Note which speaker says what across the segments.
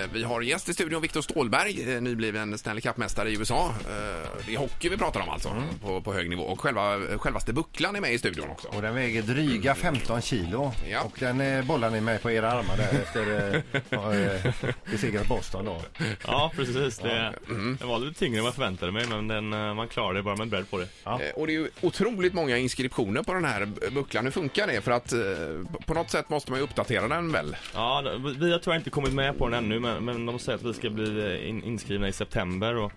Speaker 1: Eh, Vi har en gäst i studion, Viktor Stålberg, eh, nybliven Stanley Cup-mästare i USA. Eh, Det är hockey vi pratar om alltså, på, på hög nivå. Och själva, eh, självaste bucklan är med i studion också.
Speaker 2: Och den väger dryga 15 kilo.
Speaker 1: Ja.
Speaker 2: Och den eh, bollar ni med på era armar där efter eh, har, eh, besegrat Boston då.
Speaker 3: Ja, precis. Det, Den var lite tyngre än vad jag förväntade mig, men den, eh, man klarar det bara med ett bredd på det.
Speaker 2: Ja.
Speaker 1: Eh, Och det är ju otroligt många inskriptioner på den här bu- bucklan. Hur funkar det? För att eh, på- på något sätt måste man ju uppdatera den väl?
Speaker 3: Ja, d- vi- vi har tyvärr inte kommit med på den ännu, men, men de säger att vi ska bli eh, in, inskrivna i september. Och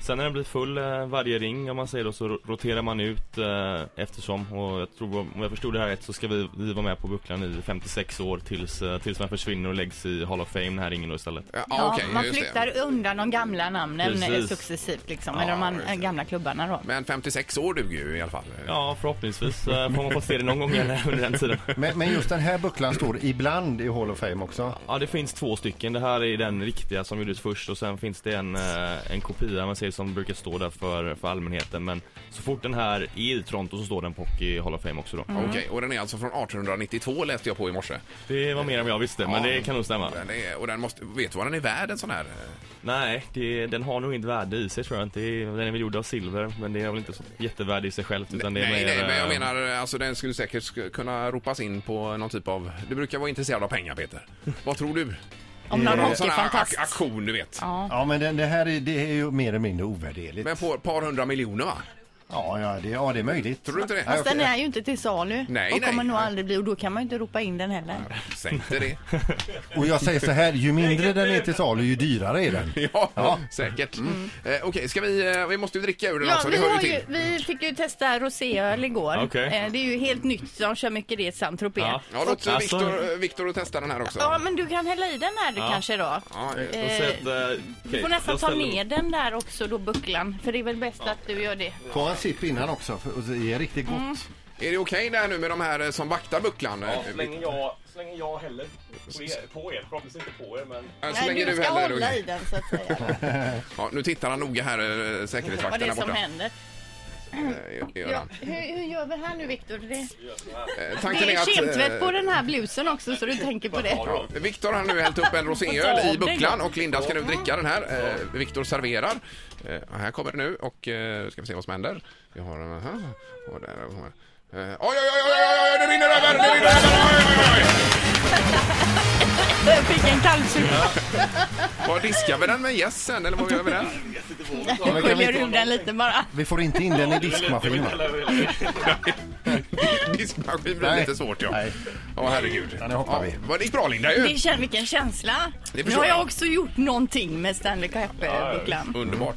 Speaker 3: Sen när den blir full eh, varje ring, om man säger då, så ro- roterar man ut eh, eftersom. Och jag tror, om jag förstod det här rätt så ska vi, vi vara med på bucklan i 56 år tills, eh, tills man försvinner och läggs i Hall of Fame, den här ringen då istället.
Speaker 1: Ja,
Speaker 4: Ja,
Speaker 1: okej,
Speaker 4: man
Speaker 1: just det.
Speaker 4: flyttar undan de gamla namnen eh,
Speaker 3: Precis.
Speaker 4: successivt, liksom,
Speaker 1: Ja,
Speaker 4: eller de an-
Speaker 1: just det.
Speaker 4: gamla klubbarna. Då.
Speaker 1: Men 56 år duger ju i alla fall.
Speaker 3: Ja, förhoppningsvis eh, får man få se det någon gång igen under den tiden.
Speaker 2: Men, men just den här bucklan står ibland i Hall of Fame också.
Speaker 3: Ja det finns två stycken, det här är den riktiga som gjordes först och sen finns det en, eh, en kopia man säger som brukar stå där för, för allmänheten men så fort den här är i Toronto så står den på Hockey Hall of Fame också då.
Speaker 1: Okej,
Speaker 4: Mm.
Speaker 1: och den är alltså från 1892 läste jag på i morse.
Speaker 3: Det var mer än vad jag visste men
Speaker 1: Ja.
Speaker 3: det kan nog stämma.
Speaker 1: Den är, och den måste, vet du vad den är värd en sån här? eh,
Speaker 3: Nej, det, den har nog inte värde i sig tror jag inte. Den är väl gjord av silver men det är väl inte så jättevärde i sig självt utan det är
Speaker 1: nej,
Speaker 3: mer,
Speaker 1: nej, men jag
Speaker 3: eh,
Speaker 1: menar alltså den skulle säkert sk- kunna ropas in på någon typ av... Du brukar vara intresserad av pengar, Peter. Vad tror du?
Speaker 4: Om någon
Speaker 1: Någon sån här ak-
Speaker 4: hockeyfantast.
Speaker 1: aktion, du vet.
Speaker 2: Ja men den, det här är, det är ju mer eller mindre ovärderligt.
Speaker 1: Men på ett par hundra miljoner, va?
Speaker 2: Ja, ja, det, ja det är möjligt.
Speaker 1: Tror du inte det?
Speaker 2: Ja,
Speaker 4: Fast den är ju inte till salu
Speaker 1: Nej,
Speaker 4: och kommer
Speaker 1: nej.
Speaker 4: nog aldrig bli och då kan man ju inte ropa in den heller.
Speaker 1: Säg inte det.
Speaker 2: Och jag säger så här, ju mindre den är till salu ju dyrare är den.
Speaker 1: Ja,
Speaker 2: Ja.
Speaker 1: säkert. Eh, Okej, ska vi... Eh, vi måste ju dricka ur den
Speaker 4: Mm. Ja,
Speaker 1: också, det
Speaker 4: vi,
Speaker 1: hör
Speaker 4: har
Speaker 1: ju
Speaker 4: ju,
Speaker 1: till.
Speaker 4: vi fick ju testa roséöl igår.
Speaker 3: Okej.
Speaker 4: Eh, Det är ju helt nytt, de kör mycket det i San Tropez. Ja.
Speaker 3: Ja.
Speaker 1: Ja, låt eh,
Speaker 3: Alltså-
Speaker 1: Viktor, eh, Viktor att testa den här också.
Speaker 4: men du kan hälla i den här kanske då.
Speaker 1: Ja, eh,
Speaker 3: jag ser att, eh,
Speaker 4: Du får
Speaker 3: okej,
Speaker 4: nästan
Speaker 3: jag
Speaker 4: ta
Speaker 3: ställer-
Speaker 4: ner den där också då, bucklan. För det är väl bäst att du gör det.
Speaker 2: Ta en sipp innan också, för och det är riktigt gott.
Speaker 1: Är det okej där nu med de här eh, som vaktar bucklan? Eh,
Speaker 3: Ja, så länge jag, så länge jag häller på er, på er, förhoppningsvis inte på er men
Speaker 1: eh, så
Speaker 4: Nej,
Speaker 1: länge
Speaker 4: du
Speaker 1: du
Speaker 4: ska
Speaker 1: häller,
Speaker 4: hålla
Speaker 1: då-
Speaker 4: i den så att säga.
Speaker 1: ja, Nu tittar han noga här, eh,
Speaker 4: Vad det
Speaker 1: säkerhetsvakten
Speaker 4: är
Speaker 1: där
Speaker 4: som
Speaker 1: borta.
Speaker 4: händer.
Speaker 1: Eh, gör
Speaker 4: Ja,
Speaker 1: han.
Speaker 4: hur, hur gör vi här nu Viktor? Det...
Speaker 1: Eh,
Speaker 4: Det
Speaker 1: Tanken är
Speaker 4: är kemtvätt
Speaker 1: att...
Speaker 4: på
Speaker 1: eh,
Speaker 4: den här blusen också så du tänker på det.
Speaker 1: Ja, Viktor har nu hällt upp en roséöl i bucklan och Linda ska nu dricka den här. Eh, Viktor serverar. Eh, och här kommer det nu och eh, ska vi se vad som händer. Vi har den här och där kommer eh, Oj, oj, oj, oj, oj, oj, det rinner över! Det rinner över! Oj, oj, oj!
Speaker 4: Jag fick en kallsupa.
Speaker 1: Vad diskar vi den med gäss sen eller vad gör vi den?
Speaker 2: men
Speaker 4: Jag
Speaker 2: kan vi
Speaker 4: sköljer
Speaker 2: inte-
Speaker 4: ur den lite bara.
Speaker 2: Vi får inte in den i diskmaskinen. va?
Speaker 1: Diskmaskin blir lite svårt ja.
Speaker 2: Nej.
Speaker 1: Ja, herregud.
Speaker 2: Ja, det hoppar vi.
Speaker 1: vad det gick bra Linda ju.
Speaker 4: Det känns, vilken känsla.
Speaker 1: Det
Speaker 4: Nu
Speaker 1: förstår
Speaker 4: har
Speaker 1: jag.
Speaker 4: jag också gjort någonting med Stanley Cup-bucklan.
Speaker 1: Underbart.